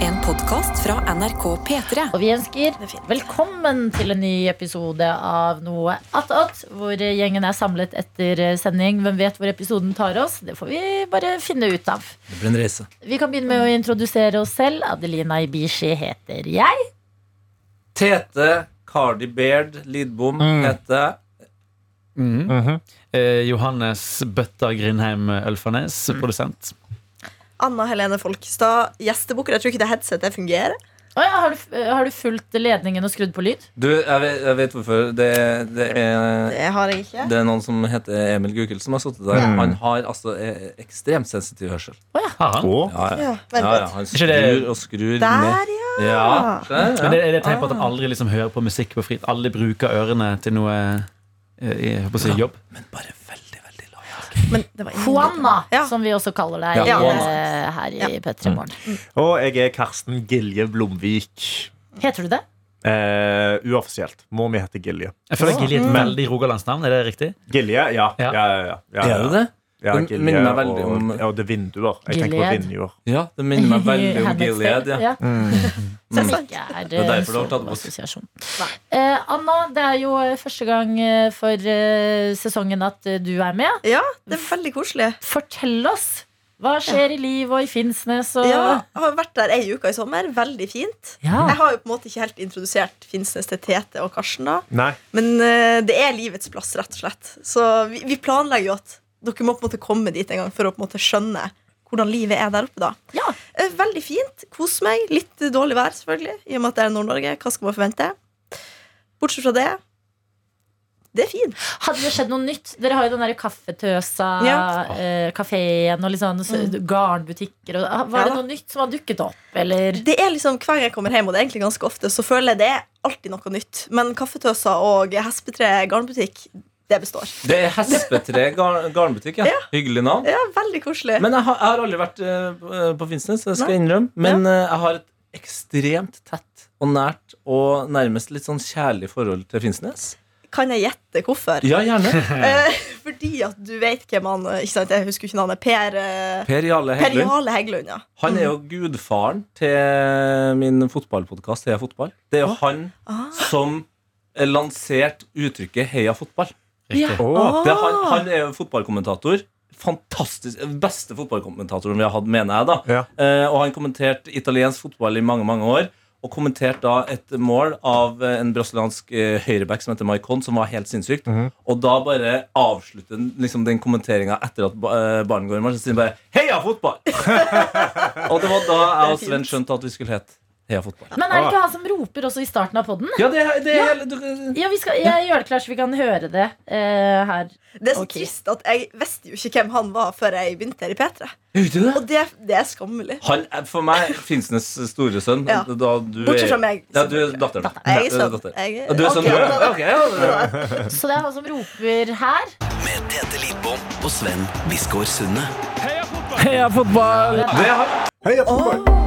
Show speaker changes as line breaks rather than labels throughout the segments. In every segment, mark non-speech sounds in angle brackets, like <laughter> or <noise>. En podkast fra NRK P3.
Og vi ønsker
Det er fint.
velkommen til en ny episode av Noe attåt, hvor gjengen er samlet etter sending. Hvem vet hvor episoden tar oss? Det får vi bare finne ut av.
Det blir en reise.
Vi kan begynne med å introdusere oss selv. Adelina Ibishi heter jeg.
Tete, Cardi Baird, Lidbom,
Mm.
Tete.
Mhm. eh, Johannes Bøtta Grindheim Ølfarnes, produsent.
Anna Helene Folkestad, gjestebukker. Jeg tror ikke det headsetet fungerer.
Å ja, har, du, eh, har du fulgt ledningen og skrudd på lyd?
Du, jeg vet, jeg vet hvorfor. Det, det, er,
Det har jeg ikke.
det er noen som heter Emil Gukild som har sittet der. Han har altså eh, ekstremt sensitiv hørsel.
Har han?
Og
Ja, ja.
Ja, vent
ja, ja.
litt.
Han
Ikke det-
skrur og skrur ned.
Der, ja.
Ja, skjønner
Men
du?
det er det et tegn på at han aldri liksom hører på musikk på frit. Alle bruker ørene til noe eh, jeg holdt på å si jobb.
Men bare veldig, veldig lavt.
Men det var ingen-
Juana,
Ja.
som vi også kaller deg
Ja,
eh,
Juana.
her
Ja. Mm.
i P3 Morgen.
jeg er Karsten Gilje Blomvik.
Heter du det?
Eh, uoffisielt må vi hete Gilje.
Jeg føler Gilje er et veldig rogalandsnavn. Er det riktig?
Gilje, ja. ja.
Ja.
ja, ja, ja,
Er det det?
Ja,
Den
Gilje,
minner meg veldig
og,
om-
Ja, og det er vinduer. Jeg tenker på
Gilead.
vinduer.
Ja, det minner meg veldig om
Henrik
Gilead.
Stein,
Ja.
Som
Mm.
ikke er
er
eh,
derfor det har
en
tatt
stor
oss.
assosiasjon. Eh, Anna, det er jo eh, første gang eh, for eh, sesongen at eh, du er med.
ja, det er veldig koselig.
Fortell oss! Hva skjer i livet og i Finnsnes og
Ja, jeg har vært der ei uke i sommer. Veldig fint.
Ja.
Jeg har jo på en måte ikke helt introdusert Finnsnes til Tete og Karsten, da.
Nei.
Men eh, det er livets plass, rett og slett. Så vi, vi planlegger jo at dere må på en måte komme dit en gang for å på en måte skjønne hvordan livet er der oppe, da.
Ja.
Eh, Veldig fint. Kos meg. Litt eh, dårlig vær, selvfølgelig, i og med at det er Nord-Norge. Hva skal man forvente? Bortsett fra det det er fint.
Hadde det skjedd noe nytt? Dere har jo den derre kaffetøsa
Ja. Mm.
eh, kafeen og litt sånn så- garnbutikker og ah, Var
Ja
det
da.
noe nytt som har dukket opp, eller?
Det er liksom, Hver gang jeg kommer hjem, og det er egentlig ganske ofte, så føler jeg det er alltid noe nytt. Men kaffetøser og hespetre garnbutikk, det består.
Det er Hespetre garn, garnbutikk. Ja. Hyggelig navn.
Ja, Veldig koselig.
Men jeg har, jeg har aldri vært eh, på Finnsnes, det skal jeg innrømme. Men eh, jeg har et ekstremt tett og nært og nærmest litt sånn kjærlig forhold til Finnsnes.
kan jeg gjette hvorfor?
Ja, gjerne.
Eh, fordi at du vet hvem han eh, ikke sant, Jeg husker ikke navnet. Per, eh,
<laughs> Per Mm. Jarle
per
Heggelund.
Jale Heggelund, ja.
Han er jo gudfaren til min fotballpodkast Heia fotball. Det er jo han som eh, lanserte uttrykket Heia fotball.
Riktig.
Å,
Det er han, han er jo fotballkommentator. Fantastisk, Beste fotballkommentatoren vi har hatt, mener jeg. da
Ja.
Eh, Og han kommenterte italiensk fotball i mange mange år. Og kommenterte da et mål av eh, en brasiliansk eh, høyreback som heter Maicon, som var helt sinnssykt. Og da bare avslutter han liksom, den kommenteringa etter at ba- eh, ballen går i mål, så sier han bare 'Heia fotball!' <laughs> og det var da jeg og Sven skjønte at vi skulle hete Heia fotball.
Men er det ikke han som roper også i starten av poden?
Ja, det, er- det er
Ja.
hele du-
Ja, vi skal, jeg gjør det klart så vi kan høre det eh, her.
Det er så
Ok.
trist at jeg visste jo ikke hvem han var før jeg begynte her i P3.
Gjør du det?
Og det, det er skammelig.
Han er for meg Finnsnes store sønn.
Ja.
Da du
Bortsett
er-
fra meg.
Ja, du er datteren.
Jeg er
Du er
sønn.
datter.
Jeg
Ja, Du er sønn,
Ok,
du
da-
er? Ok, ja.
Så det er han som roper her.
Med Tete Lidbom og Sven Biskår Sunne.
Heia fotball!
Det er han.
Heia fotball!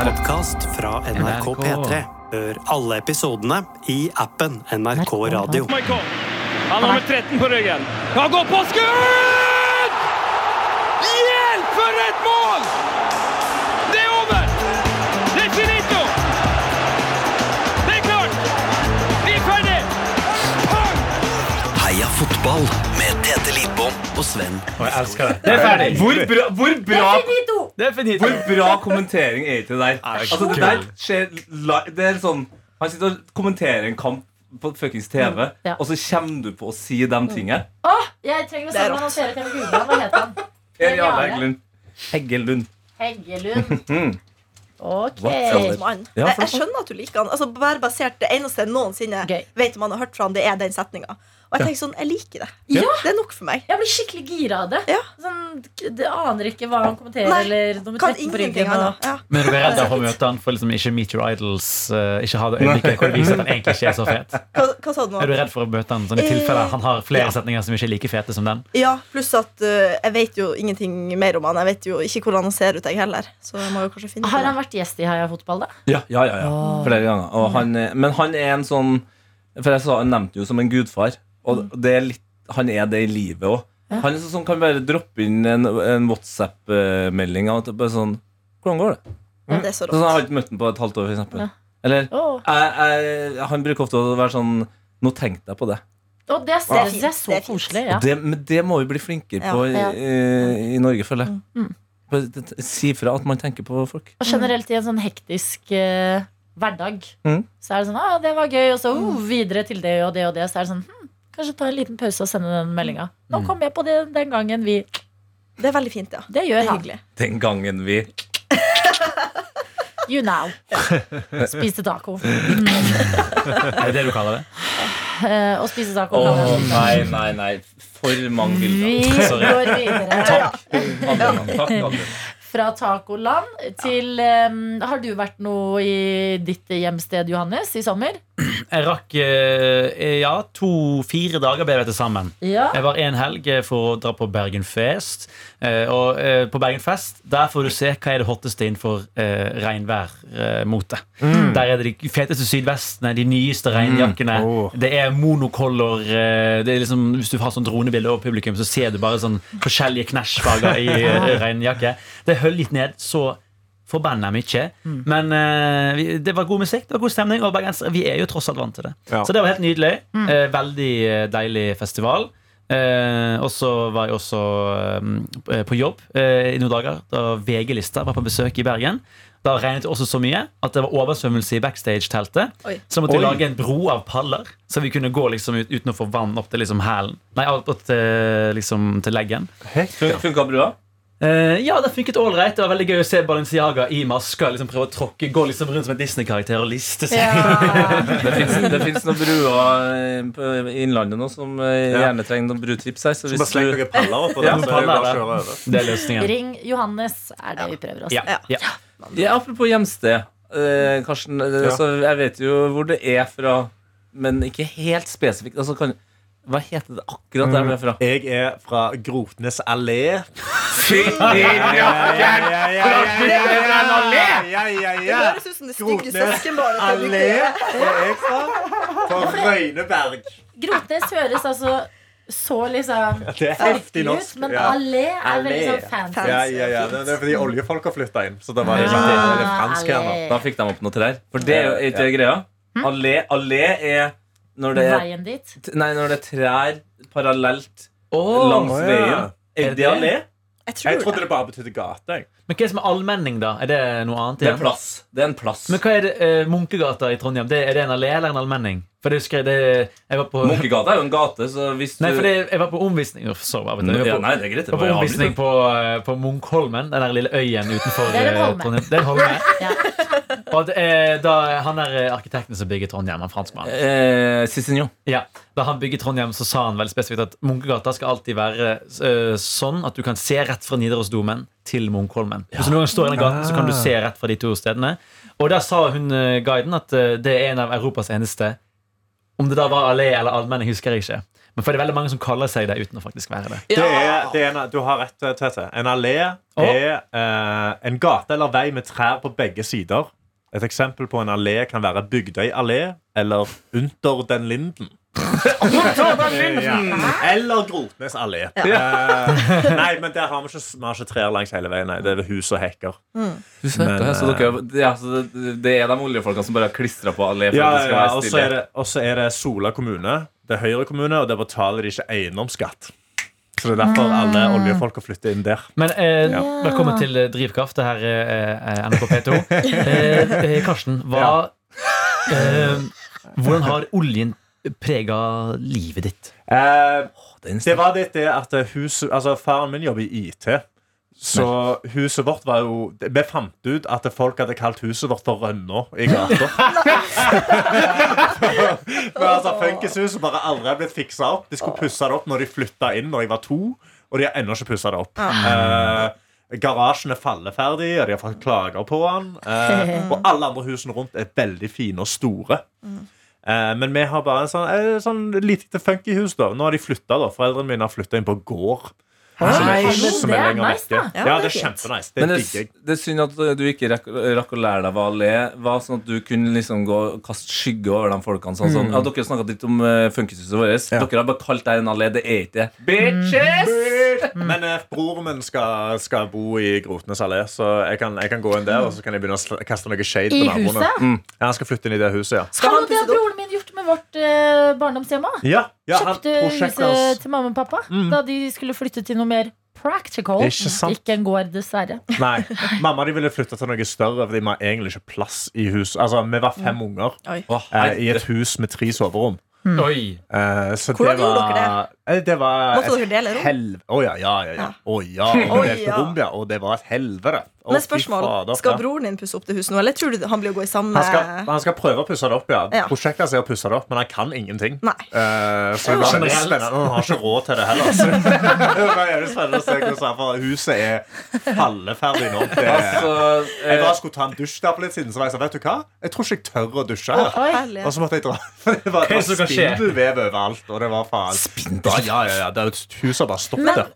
En podkast fra NRK
NRK.
P3. Hør alle episodene i appen NRK Radio.
Michael. Han har nummer 13 på ryggen. Han går på skudd! Hjelp, for et mål! Det er over! Det er finito! Det er klart! Vi er ferdig! Pang!
Heia fotball med Tete Lidbom og Sven.
Jeg elsker det.
Det er ferdig. Hvor bra, hvor bra,
Finito!
Det er finito.
hvor bra kommentering er ikke det der? Altså, det der skjer li- Det er sånn Han sitter og kommenterer en kamp på fuckings TV,
Mm,
Ja.
og så kommer du på å si de tingene.
Åh, jeg trenger å se
Det er
hvordan han ser ut. Jeg vil google han. Hva heter han?
Per Jarle
Jarle.
Heggelund. Heggelund. <laughs>
Heggelund.
Hmm.
Ok.
What?
Mann.
Ja,
Jeg,
for
jeg
faen.
skjønner at du liker han. Altså, bare basert Det eneste jeg noensinne
Gøy.
vet om han har hørt fra han, det er den setninga. Og jeg tenker sånn, jeg liker det.
Ja.
Det er nok for meg.
Jeg blir skikkelig gira av det.
Ja.
Sånn, det aner ikke hva han kommenterer.
Nei,
eller nummer
Kan
13 på
ingenting,
ryggen.
han
Og...
òg. Ja.
Men dere er redde for å møte han for liksom ikke Meet Your Idols, eh, ikke ha det øyeblikket hvor det viser at han egentlig ikke er så fet?
Hva, hva sa du nå?
Er du redd for å møte han sånn i tilfelle han har flere setninger som ikke er like fete som den?
Ja, pluss at eh, jeg vet jo ingenting mer om han. Jeg vet jo ikke hvordan han ser ut, jeg heller. Så jeg må jo kanskje finne ut
Har
av
han vært gjest i Heia fotball, da?
Ja, ja, ja, ja. Flere ganger. Og han, er- men han er en sånn For jeg sa, han nevnte jo som en gudfar, og
Mm.
det er litt, han er det i livet òg. Han er sånn som kan bare droppe inn en, en WhatsApp-melding av at det bare sånn Hvordan går det?
Og det er
Sånn,
Mm.
så
jeg
rått.
har ikke møtt ham på et halvt år, for eksempel.
Ja.
Eller
Åh.
jeg, jeg, Han bruker ofte å være sånn Nå tenkte jeg på det.
Og det,
Det er
ser-
fint,
det er så
det er fint.
koselig. Ja.
Og det, men det må vi bli flinkere
Ja.
på i,
Ja.
i, i Norge, føler jeg.
Mm.
Bare t- t- Si fra at man tenker på folk.
Og generelt i en sånn hektisk eh, hverdag
Mm.
så er det sånn ah, 'Det var gøy', og så oh,
Mm.
videre til det og det og det. Så er det sånn hm, Kanskje ta en liten pause og sende den meldinga.
Mm.
'Nå kom jeg på det den gangen vi
Det er veldig fint, ja.
Det
Det
gjør
er
han.
hyggelig.
Den gangen vi
You
<laughs>
now. Spise taco.
Er det det du kaller det?
Eh, og spise taco.
Å
kan jeg slutte.
nei, nei, nei. For mange
Vi
bilder. Sorry.
går videre
Adrian,
<laughs>
takk, Adrian.
fra tacoland til eh, Har du vært noe i ditt hjemsted, Johannes, i sommer?
Jeg rakk eh, ja, to-fire dager ble det til sammen.
Ja.
Jeg var en helg eh, for å dra på Bergenfest. eh, Og eh, på Bergenfest der får du se hva er det hotteste innenfor eh, regnværmote. Der er det de feteste sydvestene, de nyeste regnjakkene.
Åh.
Det er monocolor. eh, Det er liksom, hvis du har sånn dronebilde over publikum, så ser du bare sånn forskjellige knæsjfarger i eh, regnjakke. Det er høl litt ned. så Forbanna mye. Men eh, vi- det var god musikk det var god stemning. Og bergensere, vi er jo tross alt vant til det.
Ja.
Så det var helt nydelig. Eh, veldig eh, deilig festival. Eh, og så var jeg også eh, på jobb eh, i noen dager da VG-lista var på besøk i Bergen. Da regnet det også så mye at det var oversvømmelse i backstage-teltet.
Oi.
Så måtte
Oi.
vi lage en bro av paller, så vi kunne gå liksom ut, uten å få vann opp til liksom hælen. Nei, opp til, liksom, til leggen.
Fun- Funka brua?
Eh, ja, det funket ålreit. Det var veldig gøy å se Balenciaga i maska. Liksom prøve å tråkke, Gå liksom rundt som en Disney-karakter og liste seg.
Det fins- Det fins noen bruer eh, på- i Innlandet nå som eh,
Ja.
gjerne trenger noen brutips her. Så
Bare
hvis
sleng
du,
noen paller oppå
Ja,
den, så er det bare å
paller,
kjøre over.
Det er løsningen.
Ring Johannes, er det vi prøver oss.
Ja, ja.
ja, apropos hjemsted, eh, Karsten. eh,
Ja.
Så jeg vet jo hvor det er fra, men ikke helt spesifikt. Altså, kan, hva heter det akkurat
Mm.
der du er fra?
Jeg er fra Grotnes allé.
Det høres ut som det stygge søskenbarnet til
Allé
Bygdøy.
er jeg fra. Fra Røyneberg.
Grotnes høres altså så liksom
Det er heftig
ut,
norsk.
men
Ja.
allé er veldig
Allé.
sånn fancy.
Ja, ja, ja. Det det er fordi oljefolk har flytta inn. Så da var det
Ah,
det er litt fransk her nå.
allé.
Da fikk de opp noen trær. For det er jo ikke greia. Allé, allé er når det er,
Hm? Veien
<laughs>
dit.
t- nei, når det er trær parallelt langs
Å, ja.
veien.
Er
Er
det
det allé?
Jeg
Jeg
tror
trodde
det.
det bare betydde gate. jeg.
Men hva er det som er allmenning, da? Er det noe annet?
Det er
igjen?
plass. Det er en plass.
Men hva er det, eh, Munkegata i Trondheim, det, er det en allé eller en allmenning? For det skrev det, jeg var på
Munkegata er jo en gate, så hvis du
Nei, for det, jeg var på omvisning Uff, sorry, jeg vet det.
ja,
Jeg var på,
Nei, det er greit. Det
jeg
var
var på
jo
omvisning
avlyst.
på, eh, på Munkholmen, den der lille øyen utenfor
Det er en
eh,
holme.
Trondheim. Det er
<laughs>
en holme.
Ja.
Og det, er- da, han er eh, arkitekten som bygger Trondheim, han franskmannen.
Eh, Cicinho.
Ja, Da han bygget Trondheim, så sa han veldig spesifikt at Munkegata skal alltid være eh, sånn at du kan se rett fra Nidarosdomen til Munkholmen. Så når du står i den gaten, så kan du se rett fra de to stedene. Og der sa hun eh, guiden at eh, det er en av Europas eneste Om det da var allé eller allmenning, husker jeg ikke. Men for det er veldig mange som kaller seg det uten å faktisk være det.
Det er, det er en, du har rett, Tete. En allé er eh, en gate eller vei med trær på begge sider. Et eksempel på en allé kan være Bygdøy allé eller Unter den Linden. Ja. Eller Grotnes allé. Eh, nei, men der har vi ikke, vi har ikke trær langs hele veien. Nei. Det er hus og hekker. Men,
så
eh,
dere, det, er- så det, det er de oljefolkene som bare har klistra på allé for
Ja,
at det skal
ja,
være
og så er,
stille.
det- og så er det Sola kommune. Det er Høyre kommune, og der betaler de ikke eiendomsskatt. Så det er derfor alle oljefolka flytter inn der.
Men eh, velkommen til eh, Drivkraft. Det her er eh, NRK P2. Eh, eh, Karsten, hva eh, Hvordan har oljen prega livet ditt?
Eh,
Den
det var litt det at huset Altså, faren min jobber i IT. Så huset vårt var jo Vi fant ut at folk hadde kalt huset vårt for Rønna i gata. <laughs> Men altså, Funkishuset bare aldri har blitt fiksa opp. De skulle pusse det opp når de flytta inn når jeg var to, og de har ennå ikke pussa det opp. Eh, garasjen er falleferdig, og de har fått klager på den. Eh, og alle andre husene rundt er veldig fine og store. Eh, men vi har bare en sånn, eh, sånn lite funky hus, da. Nå har de flytta, da. Foreldrene mine har flytta inn på gård. Som er,
Hei, men
som
det
er
er
lenger
nice,
vekke.
da.
Ja,
Ja,
det er
det er
fint.
kjempenice. Det
Men det,
digger jeg.
det er synd at eh, du ikke rakk, rakk å lære deg hva allé var, sånn at du kunne liksom gå og kaste skygge over de folkene. Sånn,
Mm.
som- eh, ja, dere snakka litt om uh, funkishuset vårt. Dere har bare kalt det en allé. Det er ikke det. Bitches!
Mm.
Men eh, broren min skal, skal bo i Grotenes allé, så jeg kan, jeg kan gå inn der og så kan jeg begynne å sl- kaste noe shade
I
på naboene.
huset?
Mm. Ja, han skal flytte inn i det huset, ja.
Skal
Hallo,
han
det har
pusse det opp?
broren min gjort med vårt eh, barndomshjem òg.
Ja, ja han,
Kjøpte huset
prosjektet hans Mm.
til mamma og pappa da de skulle flytte til noe mer practical.
Ikke sant.
Ikke en gård, dessverre.
Nei, Mamma de ville flytte til noe større, Fordi vi har egentlig ikke plass i hus. Altså, Vi var fem
Mm.
unger
Oi.
Å,
eh,
herre.
i et hus med tre soverom.
Oi.
Eh, så
Hvordan
det var,
gjorde dere
Eh, det? var
Måtte
et
dere dele rom?
helv- Å ja, ja, ja. ja.
Ja.
Å ja, og
Å
delte
ja.
rom, ja. Og det var et helvete. Å,
Men
fy
spørsmål,
fader,
Skal
ja.
broren din pusse opp det huset nå, eller tror du han blir å gå i samme
han skal, han skal prøve å pusse det opp, ja.
Ja.
Prosjektet hans er å pusse det opp, men han kan ingenting.
Nei.
Eh, så det var veldig
Generelt.
spennende. Han har ikke råd til det heller. Så.
<laughs>
det var jævlig spennende å se hvordan han- for huset er falleferdig nå. Det,
Altså,
jeg
eh,
bare skulle ta en dusj der for litt siden, så var jeg sånn, vet du hva? Jeg tror ikke jeg tør å dusje her.
Oi.
Herlig.
Og så måtte jeg dra. <laughs> For det var,
Hva
det
er det som
var
kan skje?
spindelvev overalt, og det var faen Spindel? Ja, ja, ja. Det er jo et hus som bare
Men-
stopper.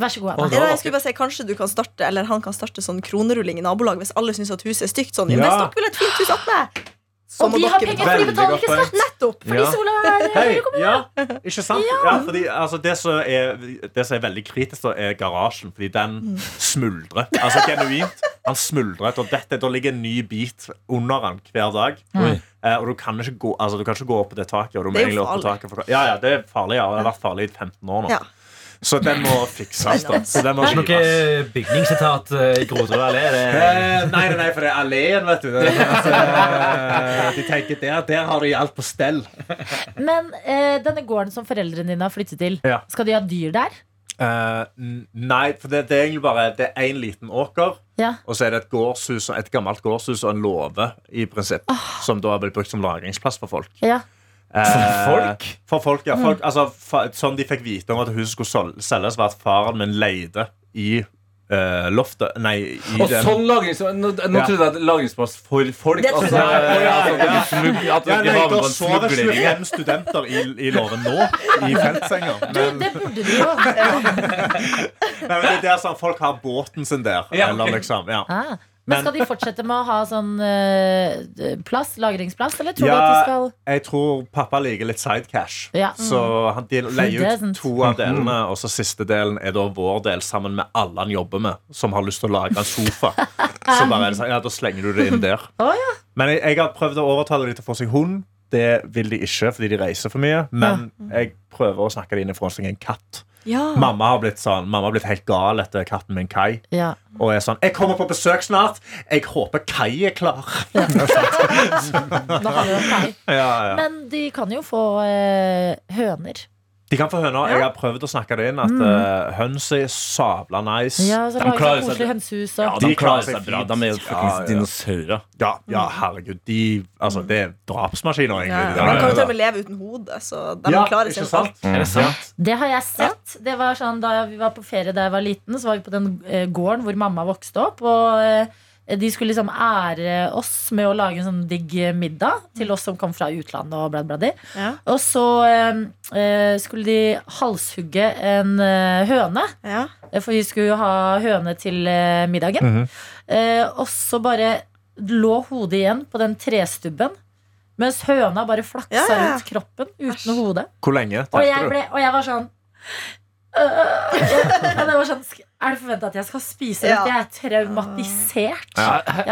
Vær så god, Anna.
Ja, nei, jeg skulle bare si, Kanskje du kan starte Eller han kan starte sånn kronerulling i nabolaget hvis alle syns at huset er stygt. Sånn, ja.
Ja.
Men det stakk vel et fint hus attmed! Så
Og
må
de
dere
har penger,
betale.
for de
Veldig
betaler
godt
ikke
poeng.
skatt! Nettopp! Fordi
Ja.
sola er
Hei, ja, ikke sant? Ja. fordi altså, det, som er, det som er veldig kritisk, da, er garasjen. Fordi den
Mm.
smuldrer. Altså genuint. Han smuldret, og dette, da ligger en ny bit under han hver dag. Eh, og du kan, ikke gå, altså, du kan ikke gå opp på det taket. Og du må
Mm. Det er jo
egentlig opp på
farlig.
taket for, ja, ja, det er farlig. Ja, og det har vært farlig i 15 år nå.
Ja.
Så den må fikses. da Så den må
Er det noe
rives.
bygningssitat eh, i Groterud allé? Er det-
Eh, nei, nei, nei, for det er alleen, vet du. Det er, sånn eh, de tenker der, der har de alt på stell.
Men eh, denne gården som foreldrene dine har flyttet til,
Ja.
skal de ha dyr der?
Eh, n- nei, for det, det er egentlig bare Det er én liten åker,
Ja.
og så er det et, gårdshus, og- et gammelt gårdshus og en låve, i prinsipp, som da har blitt brukt som lagringsplass for folk.
ja.
Eh,
folk?
For folk, ja. Folk, altså, fa, sånn de fikk vite om at huset skulle sol- selges, var at faren min leide i eh, loftet Nei, i
Og
den
sånn lagrings... Nå, nå
Ja.
trodde jeg at lagringsplass for folk.
Det
Altså,
trodde jeg.
eh, altså, at du smug- at du
ja,
ikke var
nei,
med
Da
på en
sover
smuglering.
25 studenter i, i låven nå, i feltsenger. <laughs>
Du, det burde de jo.
Nei, men det er der sånn, folk har båten sin der.
Ja, ok.
Eller liksom, ja.
Ah. Men
Men-
skal de fortsette med å ha sånn eh, plass, lagringsplass, eller tror
Ja.
du at de skal
Jeg tror pappa liker litt sidecash.
Ja.
Så han de leier ut
doesn't?
to av delene, og så siste delen er da vår del sammen med alle han jobber med, som har lyst til å lage en sofa. så bare er det sånn, ja, da slenger du det inn der.
Å, ja.
Men jeg, jeg har prøvd å overtale dem til å få seg hund. Det vil de ikke fordi de reiser for mye. Men jeg prøver å snakke det inn i forhold til en katt.
Ja.
Mamma har blitt sånn, mamma har blitt helt gal etter katten min Kai.
Ja.
Og er sånn 'Jeg kommer på besøk snart. Jeg håper Kai er klar.'
Nå har vi jo feil.
<laughs> Ja, ja.
Men de kan jo få eh, høner.
De kan få høner. Jeg har prøvd å snakke det inn at
Mm.
eh, høns er sabla nice.
Ja, så lager
klarer
de
seg-
koselig hønsehus og
De
De klarer
klarer
seg
seg bra.
fint.
De er jo
Ja, ja.
fuckings dinosaurer.
Ja, ja, herregud. De, altså, det er drapsmaskiner,
Mm. Ja.
egentlig. de
Man
der.
kan jo til og med leve uten hode, så de
Ja,
klarer
ikke
seg.
sant?
Er
Mm.
det sant?
Det har jeg sett. Det var sånn, da vi var på ferie da jeg var liten, så var vi på den eh, gården hvor mamma vokste opp. Og eh, de skulle liksom ære oss med å lage en sånn digg middag til oss som kom fra utlandet. Og bla bla bla.
Ja.
Og så eh, eh, skulle de halshugge en eh, høne.
Ja.
Eh, For vi skulle jo ha høne til eh, middagen.
Mhm.
eh, og så bare lå hodet igjen på den trestubben. Mens høna bare flaksa
Ja, ja, ja.
rundt kroppen uten hode.
Hvor lenge
Og jeg,
tenkte du?
ble, og jeg var sånn øh, ja, det var sånn sk- Er det forventa at jeg skal spise
Ja.
dette? Jeg er traumatisert. Jeg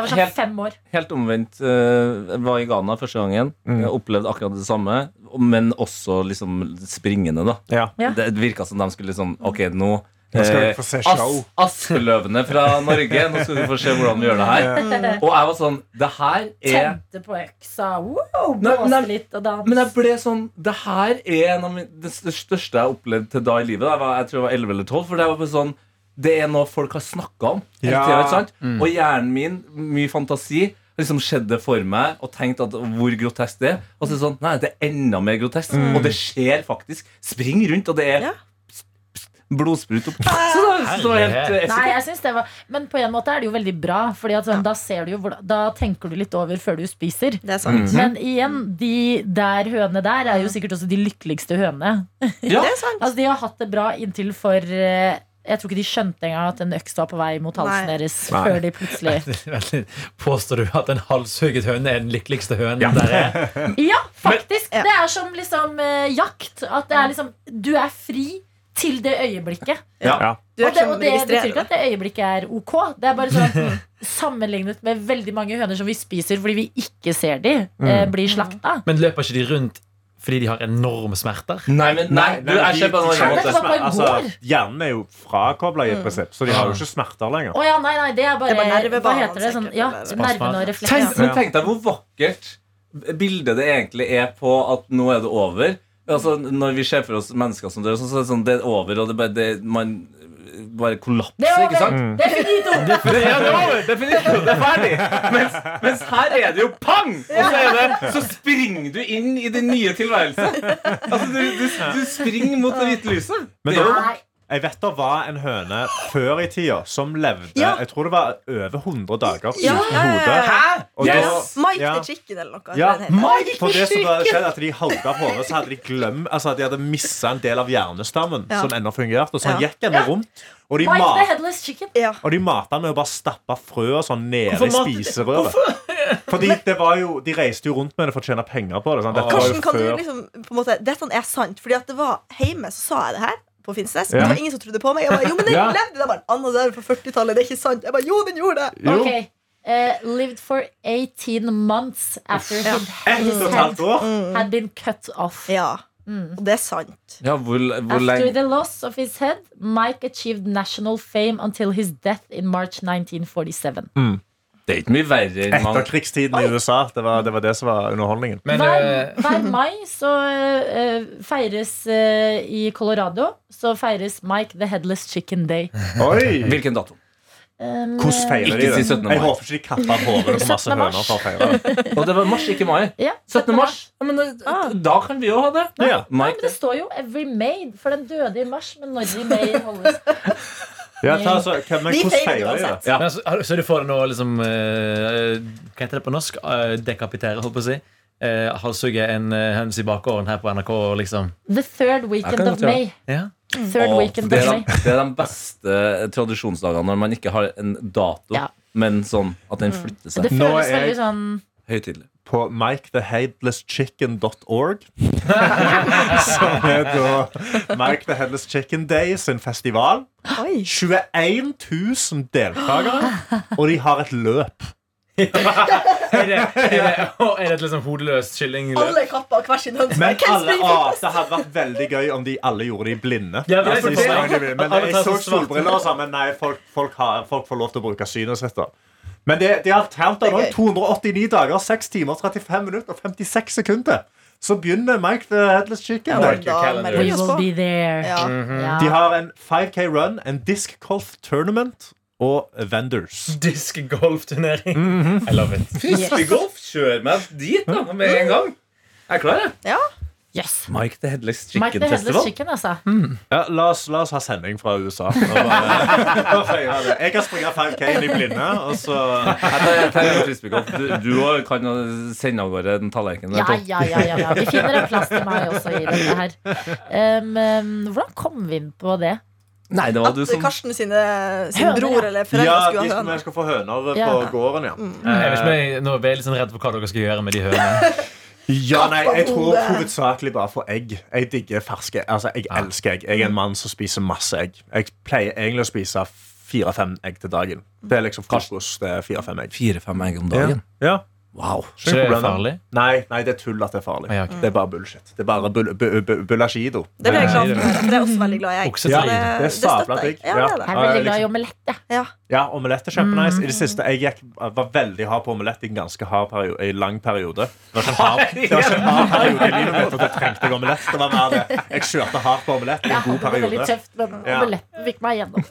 var sånn
Helt-
fem år.
Helt omvendt. eh, Jeg var i Ghana første gangen.
Mm.
Jeg opplevde akkurat det samme, men også liksom springende, da.
Ja.
Ja.
Det virka som de skulle liksom Ok, nå
Nå skal
eh,
vi få se
As-
show.
Aspeløvene fra Norge, nå skal du få se hvordan vi gjør det
Eh,
her. Og jeg var sånn Det her er
Tente på øksa, wow,
Nei, nei,
blåste litt og dans.
Men jeg ble sånn Det her er en av min, det st- største jeg har opplevd til da i livet. da. Jeg, var, jeg tror jeg var 11 eller 12. For det var bare sånn Det er noe folk har snakka om. hele
Ja.
tiden, ikke sant? Og hjernen min, mye fantasi, har liksom skjedd det for meg og tenkt at hvor grotesk det er. Og så er det sånn Nei, det er enda mer grotesk. Og det skjer faktisk. Spring rundt, og det er
Ja.
blodsprut opp. Så da- så det var helt eh,
Nei,
effektivt.
jeg synes det var Men på en måte er det jo veldig bra, Fordi at sånn, da, ser du jo, hvordan- da tenker du litt over før du spiser.
Det er sant.
Mm.
Men igjen, de der hønene der er jo sikkert også de lykkeligste hønene.
Ja.
Det er sant.
Altså, de har hatt det bra inntil for eh, Jeg tror ikke de skjønte engang at en øks var på vei mot halsen
Nei.
deres
Nei.
før de plutselig
Vent litt. <laughs> Påstår du at en halshugget høne er den lykkeligste hønen der <laughs> er?
Ja, faktisk.
Ja.
Det er som liksom eh, jakt. At det er liksom Du er fri til det øyeblikket.
Ja.
Du
Og
er
det,
som
og det betyr ikke
registrerer.
at det øyeblikket er ok. Det er bare
<laughs>
sånn Sammenlignet med veldig mange høner som vi spiser fordi vi ikke ser de
Mm.
eh, bli slakta.
Men løper ikke de rundt fordi de har enorme smerter?
Nei, men nei,
Nei,
du,
men
jeg
de-
ser på en
de
annen
kjenner
måte.
Dette var på i
altså,
går.
Hjernen er jo frakobla
Mm.
i et prinsipp, så de
Mm.
har jo ikke smerter lenger.
Å ja, nei, nei, det er bare,
Det er bare
Hva
nervebanene,
heter det? Sånn,
sikkert,
ja,
eller-
nervene og refleksene.
Tenk, men tenk deg hvor vakkert bildet det egentlig er på at nå er det over. Altså, når vi ser for oss mennesker som dør, så, så er det sånn, det er over, og det, er bare, det, man bare
Det
kollapser,
er
ikke sant?
over! Det er
<laughs>
finito!
Det, ja, det er over! Definitivt! Det er ferdig! Mens, mens her er det jo pang! Og så, er det, så springer du inn i din nye tilværelse. Altså, du, du, du springer mot det hvite lyset.
Men
det er jo
da-
Nei.
Jeg vet det var en høne før i tida som levde
Ja.
Jeg tror det var over 100 dager
Ja.
uten hode. Og
Yes.
da-
Mike
Ja.
the Chicken eller noe.
Ja.
den heter.
For det som hadde skjedd at De hogde av hodet, så hadde de glemt Altså de hadde mista en del av hjernestammen
Ja.
som ennå fungerte. Og så han
Ja.
gikk ennå rundt. Og de,
Mike the
ma
Headless Chicken.
Ja.
og de mata med å bare stappe frø og sånn nede
Hvorfor
i
matet de-
spiserøret. Fordi det var jo, De reiste jo rundt med det for å tjene penger på det. Sant? Dette var
Hvordan
jo
kan du
før
liksom på en måte, Dette er sant. Fordi at det var hjemme, så sa jeg det her. På Finnsnes.
Ja.
Det var ingen som trodde på meg. Jeg bare, jo, men den
Ja.
levde Det var en annen der på 40-tallet. Det er ikke sant. Jeg bare, jo, den gjorde det.
Jo.
Ok. Eh, lived for 18 months after
Ett og
his
et
head
halvt år.
had been cut off.
Ja. Mm. Og det er sant.
Ja, hvor, hvor
After
lenge
the loss of his head, Mike achieved national fame until his death in March 1947.
Det er ikke mye verre enn man
Etterkrigstiden i USA. Det var, det var det som var underholdningen.
Men,
hver,
eh,
<laughs> hver mai så eh, feires eh, i Colorado Så feires Mike the Headless Chicken Day.
Oi!
Hvilken dato?
Um,
Hvordan feirer de
Ikke si
det?
17. mai.
Jeg håper ikke de kapper av hodet på masse
17. mars.
høner for å feire. det.
Og det var mars, ikke mai.
ja,
17. mars. Ja, men, eh, Da kan vi jo ha det.
Ja.
Nei, men
Mike,
Ah. det står jo 'Every May', for den døde i mars. Men når i May holdes
Ja, ta, altså, hva- men
Vi
hvordan
feirer
feirer de det?
uansett.
Ja.
Men altså, har du- så du får det nå liksom eh, Hva heter det på norsk? Eh, Dekapitere, holdt på å si. Uh, Halshugge en eh, høns i bakgården her på NRK, liksom.
The third
Jeg
weekend
kan
of
godt gjøre
May.
Ja.
Third
Åh,
weekend
det,
of
er
May
de, det er de beste tradisjonsdagene når man ikke har en dato,
Ja.
men sånn at den flytter
Det
seg
Nå
føles
er jeg-
veldig sånn
høytidelig.
på
<laughs>
miketheheadlesschicken.org. som er da Mike the Headless Chicken Day sin festival.
Oi.
21 000 deltakere, og de har et løp.
Er det, er det, <laughs> og er det et liksom hodeløst kylling?
Alle kappa hver sin hønse.
Men
Hvem
alle,
springer
ah,
først?
det hadde vært veldig gøy om de alle gjorde de blinde.
Ja,
Altså,
det er for
de
det.
sprang de blinde. Men
Alle
jeg
tar
så
seg svart.
solbriller og sånn, men nei, folk, folk, har, folk får lov til å bruke synet sitt. da. Men det, de har telt av nå
Det er
289 dager, 6 timer, 35 minutter og 56 sekunder. Så begynner Mike the Headless Chicken.
Mark your
Da
calendar.
melder
We
vi oss
will
på.
be there.
Ja.
Mhm.
Ja.
De har en 5K run, en disc golf tournament og vendors.
Disk golfturnering. I love it.
Fiskegolf, kjør meg dit da, med en gang. Jeg er klar, jeg.
Ja.
Yes.
Mike the Headless
Mike
Chicken
the Headless
Festival.
Chicken, altså.
Ja, la, oss, la oss ha sending fra USA. Og bare, <laughs> og feire det. jeg kan springe 5K i blinde, og så
Jeg tar- jeg tar en frisbeegolf. Du, du også kan jo sende av gårde den tallerkenen.
Ja,
der, Tom.
ja, ja, ja, ja. Vi finner en plass til meg også i dette her. Um, um, hvordan kom vi inn på det?
Nei, det var
At
du som
Karsten sine, sin
Høner, ja.
bror eller foreldre
Ja, de
skulle ha
skal, vi
høne.
skal få høner på
Ja.
gården, ja.
Jeg vet ikke, men jeg, Eh, nå er jeg litt sånn redd for hva dere skal gjøre med de hønene.
Ja, nei, jeg tror
Kappahode.
hovedsakelig bare for egg. Jeg digger ferske. Altså, jeg elsker egg. Jeg er en mann som spiser masse egg. Jeg pleier egentlig å spise fire-fem egg til dagen. Det er liksom frokost. det er fire-fem egg.
Fire-fem egg om
Ja.
dagen.
Ja.
Wow.
Så det er farlig.
Nei, nei, det er tull at det er
Ah,
farlig.
Ja, ok.
Det er bare bullshit. Det er bare bull bu- bu- bulasjido.
Det ble jeg glad for. Det er også veldig glad i jeg.
Oksetid.
Så det,
Det er
det
sabla
støtter jeg.
digg.
Ja, det er det.
Jeg er veldig glad i
liksom-
omelett, jeg.
Ja.
ja, omelett er kjempenice. I det siste, jeg gikk, var veldig hard på omelett i en ganske hard periode, i en lang periode. Det var ikke en hard, det var ikke en hard periode i livet mitt at jeg trengte jeg omelett. Det var mer det. Jeg kjørte hardt på omelett i en god
Det var veldig
periode.
tøft, men
Ja.
omeletten fikk meg
<laughs>
igjennom.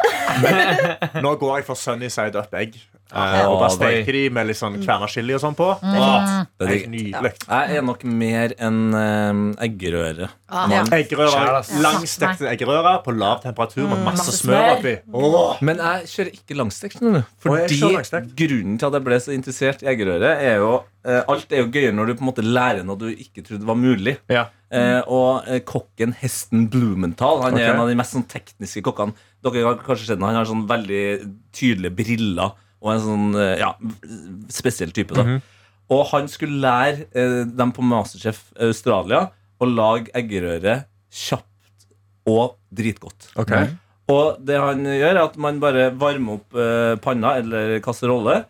Nå går jeg for sunny side up egg. Eh,
Ja.
og bare
Å, det-
steker de med litt sånn kverna chili og sånn på. Åh,
Det er
helt
digg.
nydelig.
Jeg er nok mer enn eh, eggerøre.
Ja.
Eggerøre,
Kjære.
langstekte eggerøre på lav temperatur med masse
masse
smør
smør.
oppi. Åh.
Men jeg kjører ikke langstekt. skjønner du.
Å, jeg
Fordi
kjører langstekt.
Grunnen til at jeg ble så interessert i eggerøre, er jo eh, Alt er jo gøyere når du på en måte lærer noe du ikke trodde var mulig.
Ja.
Eh, og eh, kokken Hesten Blumenthal Han
Ok.
er en av de mest sånn, tekniske kokkene. Dere har kanskje sett den, Han har sånn veldig tydelige briller og en sånn eh, ja, spesiell type. da
Mhm.
Og han skulle lære eh, dem på Masterchef Australia å lage eggerøre kjapt og dritgodt.
Ok.
Og det han gjør, er at man bare varmer opp eh, panna eller kasserolle,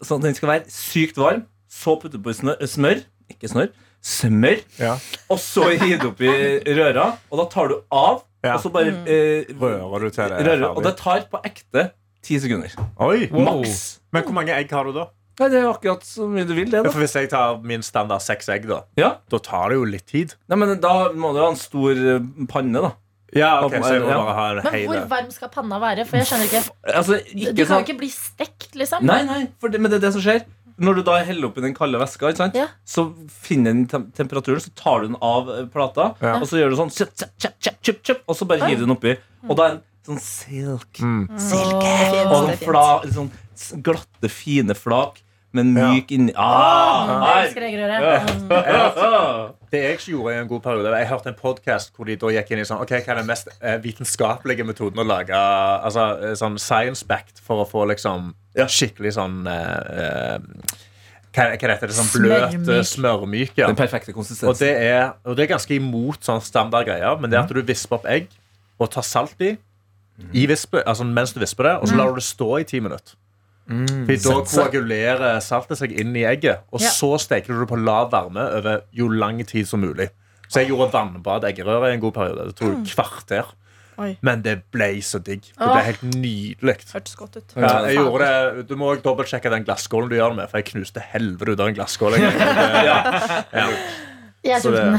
sånn at den skal være sykt varm. Så putter du på snø, smør. Ikke snørr. Smør.
Ja.
Og så hiver du oppi røra, og da tar du av.
Ja.
Og så bare eh,
Rører du til det? er
rører. Og det
ferdig?
tar på ekte ti sekunder.
Oi.
Maks.
Men hvor mange egg har du da?
Nei, det er jo akkurat så mye du vil, det.
Ja,
da
For Hvis jeg tar min standard seks egg, da
Ja,
Da tar det jo litt tid.
Nei, men Da må du ha en stor eh, panne, da.
Ja, ok, så jeg må
Ja.
bare ha en
Men hvor
hele
varm skal panna være? For jeg skjønner ikke
Altså,
Du
ikke
kan jo
sånn-
ikke bli stekt, liksom.
Nei, nei, for det, men det er det som skjer. Når du da heller oppi den kalde væska, ikke sant?
Ja.
så finner den tem temperaturen, så tar du den av eh, plata,
Ja.
og så gjør du sånn tjup, tjup, tjup, tjup, tjup, tjup, Og så bare hiver du den oppi.
Mm.
Og da er den sånn silk.
Fint,
Og
det er
den
fint.
fla, sånn s- glatte, fine flak, men myk inni
Jeg
ah,
elsker eggerøre. Mm.
Det jeg ikke gjorde i en god periode var Jeg hørte en podcast hvor de da gikk inn i sånn Ok, hva er den mest eh, vitenskapelige metoden å lage Altså eh, sånn science-backed for å få liksom skikkelig sånn eh, eh, hva, hva heter det? Sånn bløt, eh, smørmyk. Ja.
Den perfekte
Og
konsistensen.
det, er, og det er ganske imot sånn standard greier, men det er at du visper opp egg og tar salt i, i vispe, altså mens du visper det, og så lar du det stå i ti minutter. Fordi da koagulerer saltet seg inn i egget, og
Ja.
så steker du det på lav varme over jo lang tid som mulig. Så jeg gjorde vannbad eggerøre i en god periode. Det tok et kvarter.
Oi.
Men det ble så digg. Det ble
Åh.
helt nydelig.
Hørtes godt ut.
Ja, jeg gjorde det. Du må også dobbeltsjekke den glasskålen du gjør det med, for jeg knuste helvete ut av en glasskål. en gang.
Jeg er
Så det-
sulten.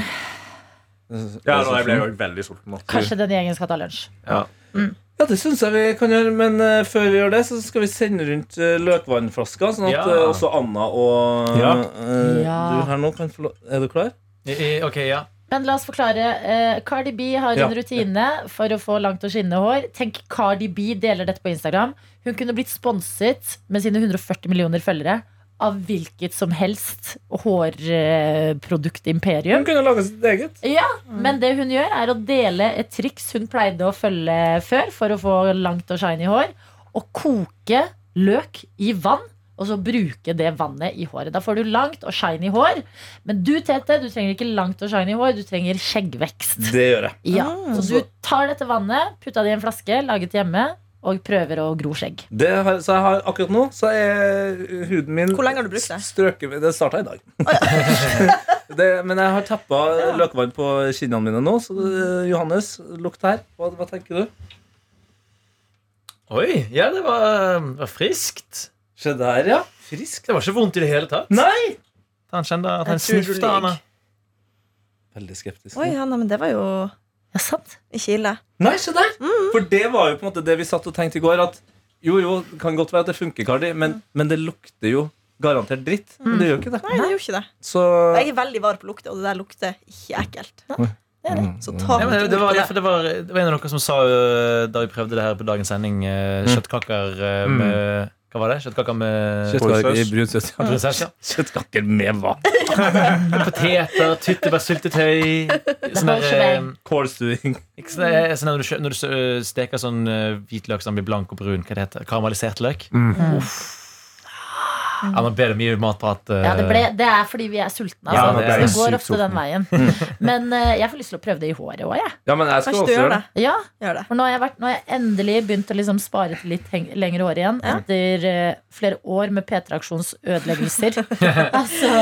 Ja, nå, jeg ble jo veldig sulten. altså. nå.
Kanskje den gjengen skal ta lunsj.
Ja, det syns jeg vi kan gjøre, men eh, før vi gjør det, så skal vi sende rundt eh, løkvannflaska, sånn at
Ja.
eh, også Anna og
Ja.
eh,
Ja.
du her nå kan få lov Er du klar?
I- i- Ok, ja
Men la oss forklare. eh, Cardi B har
Ja.
en rutine for å få langt og skinnende hår. Tenk Cardi B deler dette på Instagram. Hun kunne blitt sponset med sine 140 millioner følgere av hvilket som helst hårproduktimperium.
Hun kunne lage sitt eget.
Ja, men det hun gjør er å dele et triks hun pleide å følge før for å få langt og shiny hår. Å koke løk i vann, og så bruke det vannet i håret. Da får du langt og shiny hår. Men du, Tete, du trenger ikke langt og shiny hår, du trenger skjeggvekst.
Det gjør jeg.
Ja, Så du tar dette vannet, putter det i en flaske, laget hjemme, og prøver å gro skjegg.
Det har, så jeg har akkurat nå så er huden min
Hvor lenge har du brukt det?
Strøket, det starta i dag. <laughs> det, men jeg har tappa løkvann på kinnene mine nå. Så eh, Johannes, lukt her. Hva, hva tenker du?
Oi, ja, det var, var friskt.
Se der, ja. Frisk.
Det var ikke vondt i det hele tatt.
Nei!
Han kjente at han
Jeg tror du
snifta. han, da.
lyver.
Veldig skeptisk.
Oi, ja, nei, men det var jo
Ja, sant?
ikke ille.
Nei, se der!
Mm.
For det var jo på en måte det vi satt og tenkte i går. At jo, jo, det kan godt være at det funker, Cardi, men, men det lukter jo garantert dritt. Men det gjør jo ikke det.
Nei, det gjorde ikke Mm. det.
Så
Jeg er veldig var på lukt, og det der lukter ikke ekkelt. Så ta
Ja, men det,
ikke
det, var,
lukt
ja,
på
for
det.
det, var, det var en av dere som sa øh, da vi prøvde det her på dagens sending, øh,
Mm.
kjøttkaker øh, med Hva var det? Kjøttkaker med
Kjøttkaker i brun saus.
Ja, prinsesse, ja.
Kjøttkaker med
<laughs>
hva?
Poteter, tyttebærsyltetøy sånn
var jo
der, øh,
Kålstuing.
ikke sånn der- sånn der Når du, kjø- når du øh, steker sånn øh, hvitløk som blir blank og brun, hva det heter karamellisert løk
Mm.
Mm.
Uff. Ja, nå ble det mye matprat. øh,
Ja, det, ble, det er fordi vi er sultne.
Ja,
Altså.
nå ble jeg
det går
sykt
ofte den veien. Men eh, jeg får lyst til å prøve det i håret òg, jeg.
Ja, men jeg skal
Kanskje du
også
gjør
gjøre
det?
det.
Ja.
Gjør det.
For nå har jeg, vært, nå har jeg endelig begynt å liksom spare til litt heng lengre hår igjen. Etter eh, flere år med P3-aksjons ødeleggelser. altså,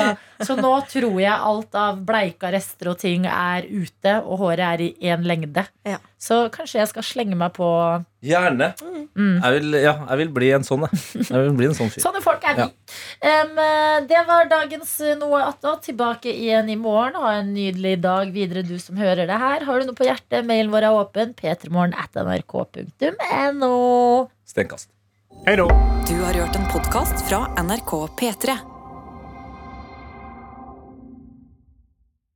så nå tror jeg alt av bleika rester og ting er ute, og håret er i én lengde.
Ja.
Så kanskje jeg skal slenge meg på Mm.
Gjerne. Jeg, vil, ja, jeg vil bli en sånn, jeg. jeg vil bli en sånn fyr.
Sånne folk er vi.
Ja.
Em, eh, det var dagens eh, Noe attåt. Tilbake igjen i morgen. Ha en nydelig dag videre, du som hører det her. Har du noe på hjertet, mailen vår er åpen. p3morgen at nrk.no.
Steinkast.
Hei da.
Du har hørt en podkast fra NRK P3.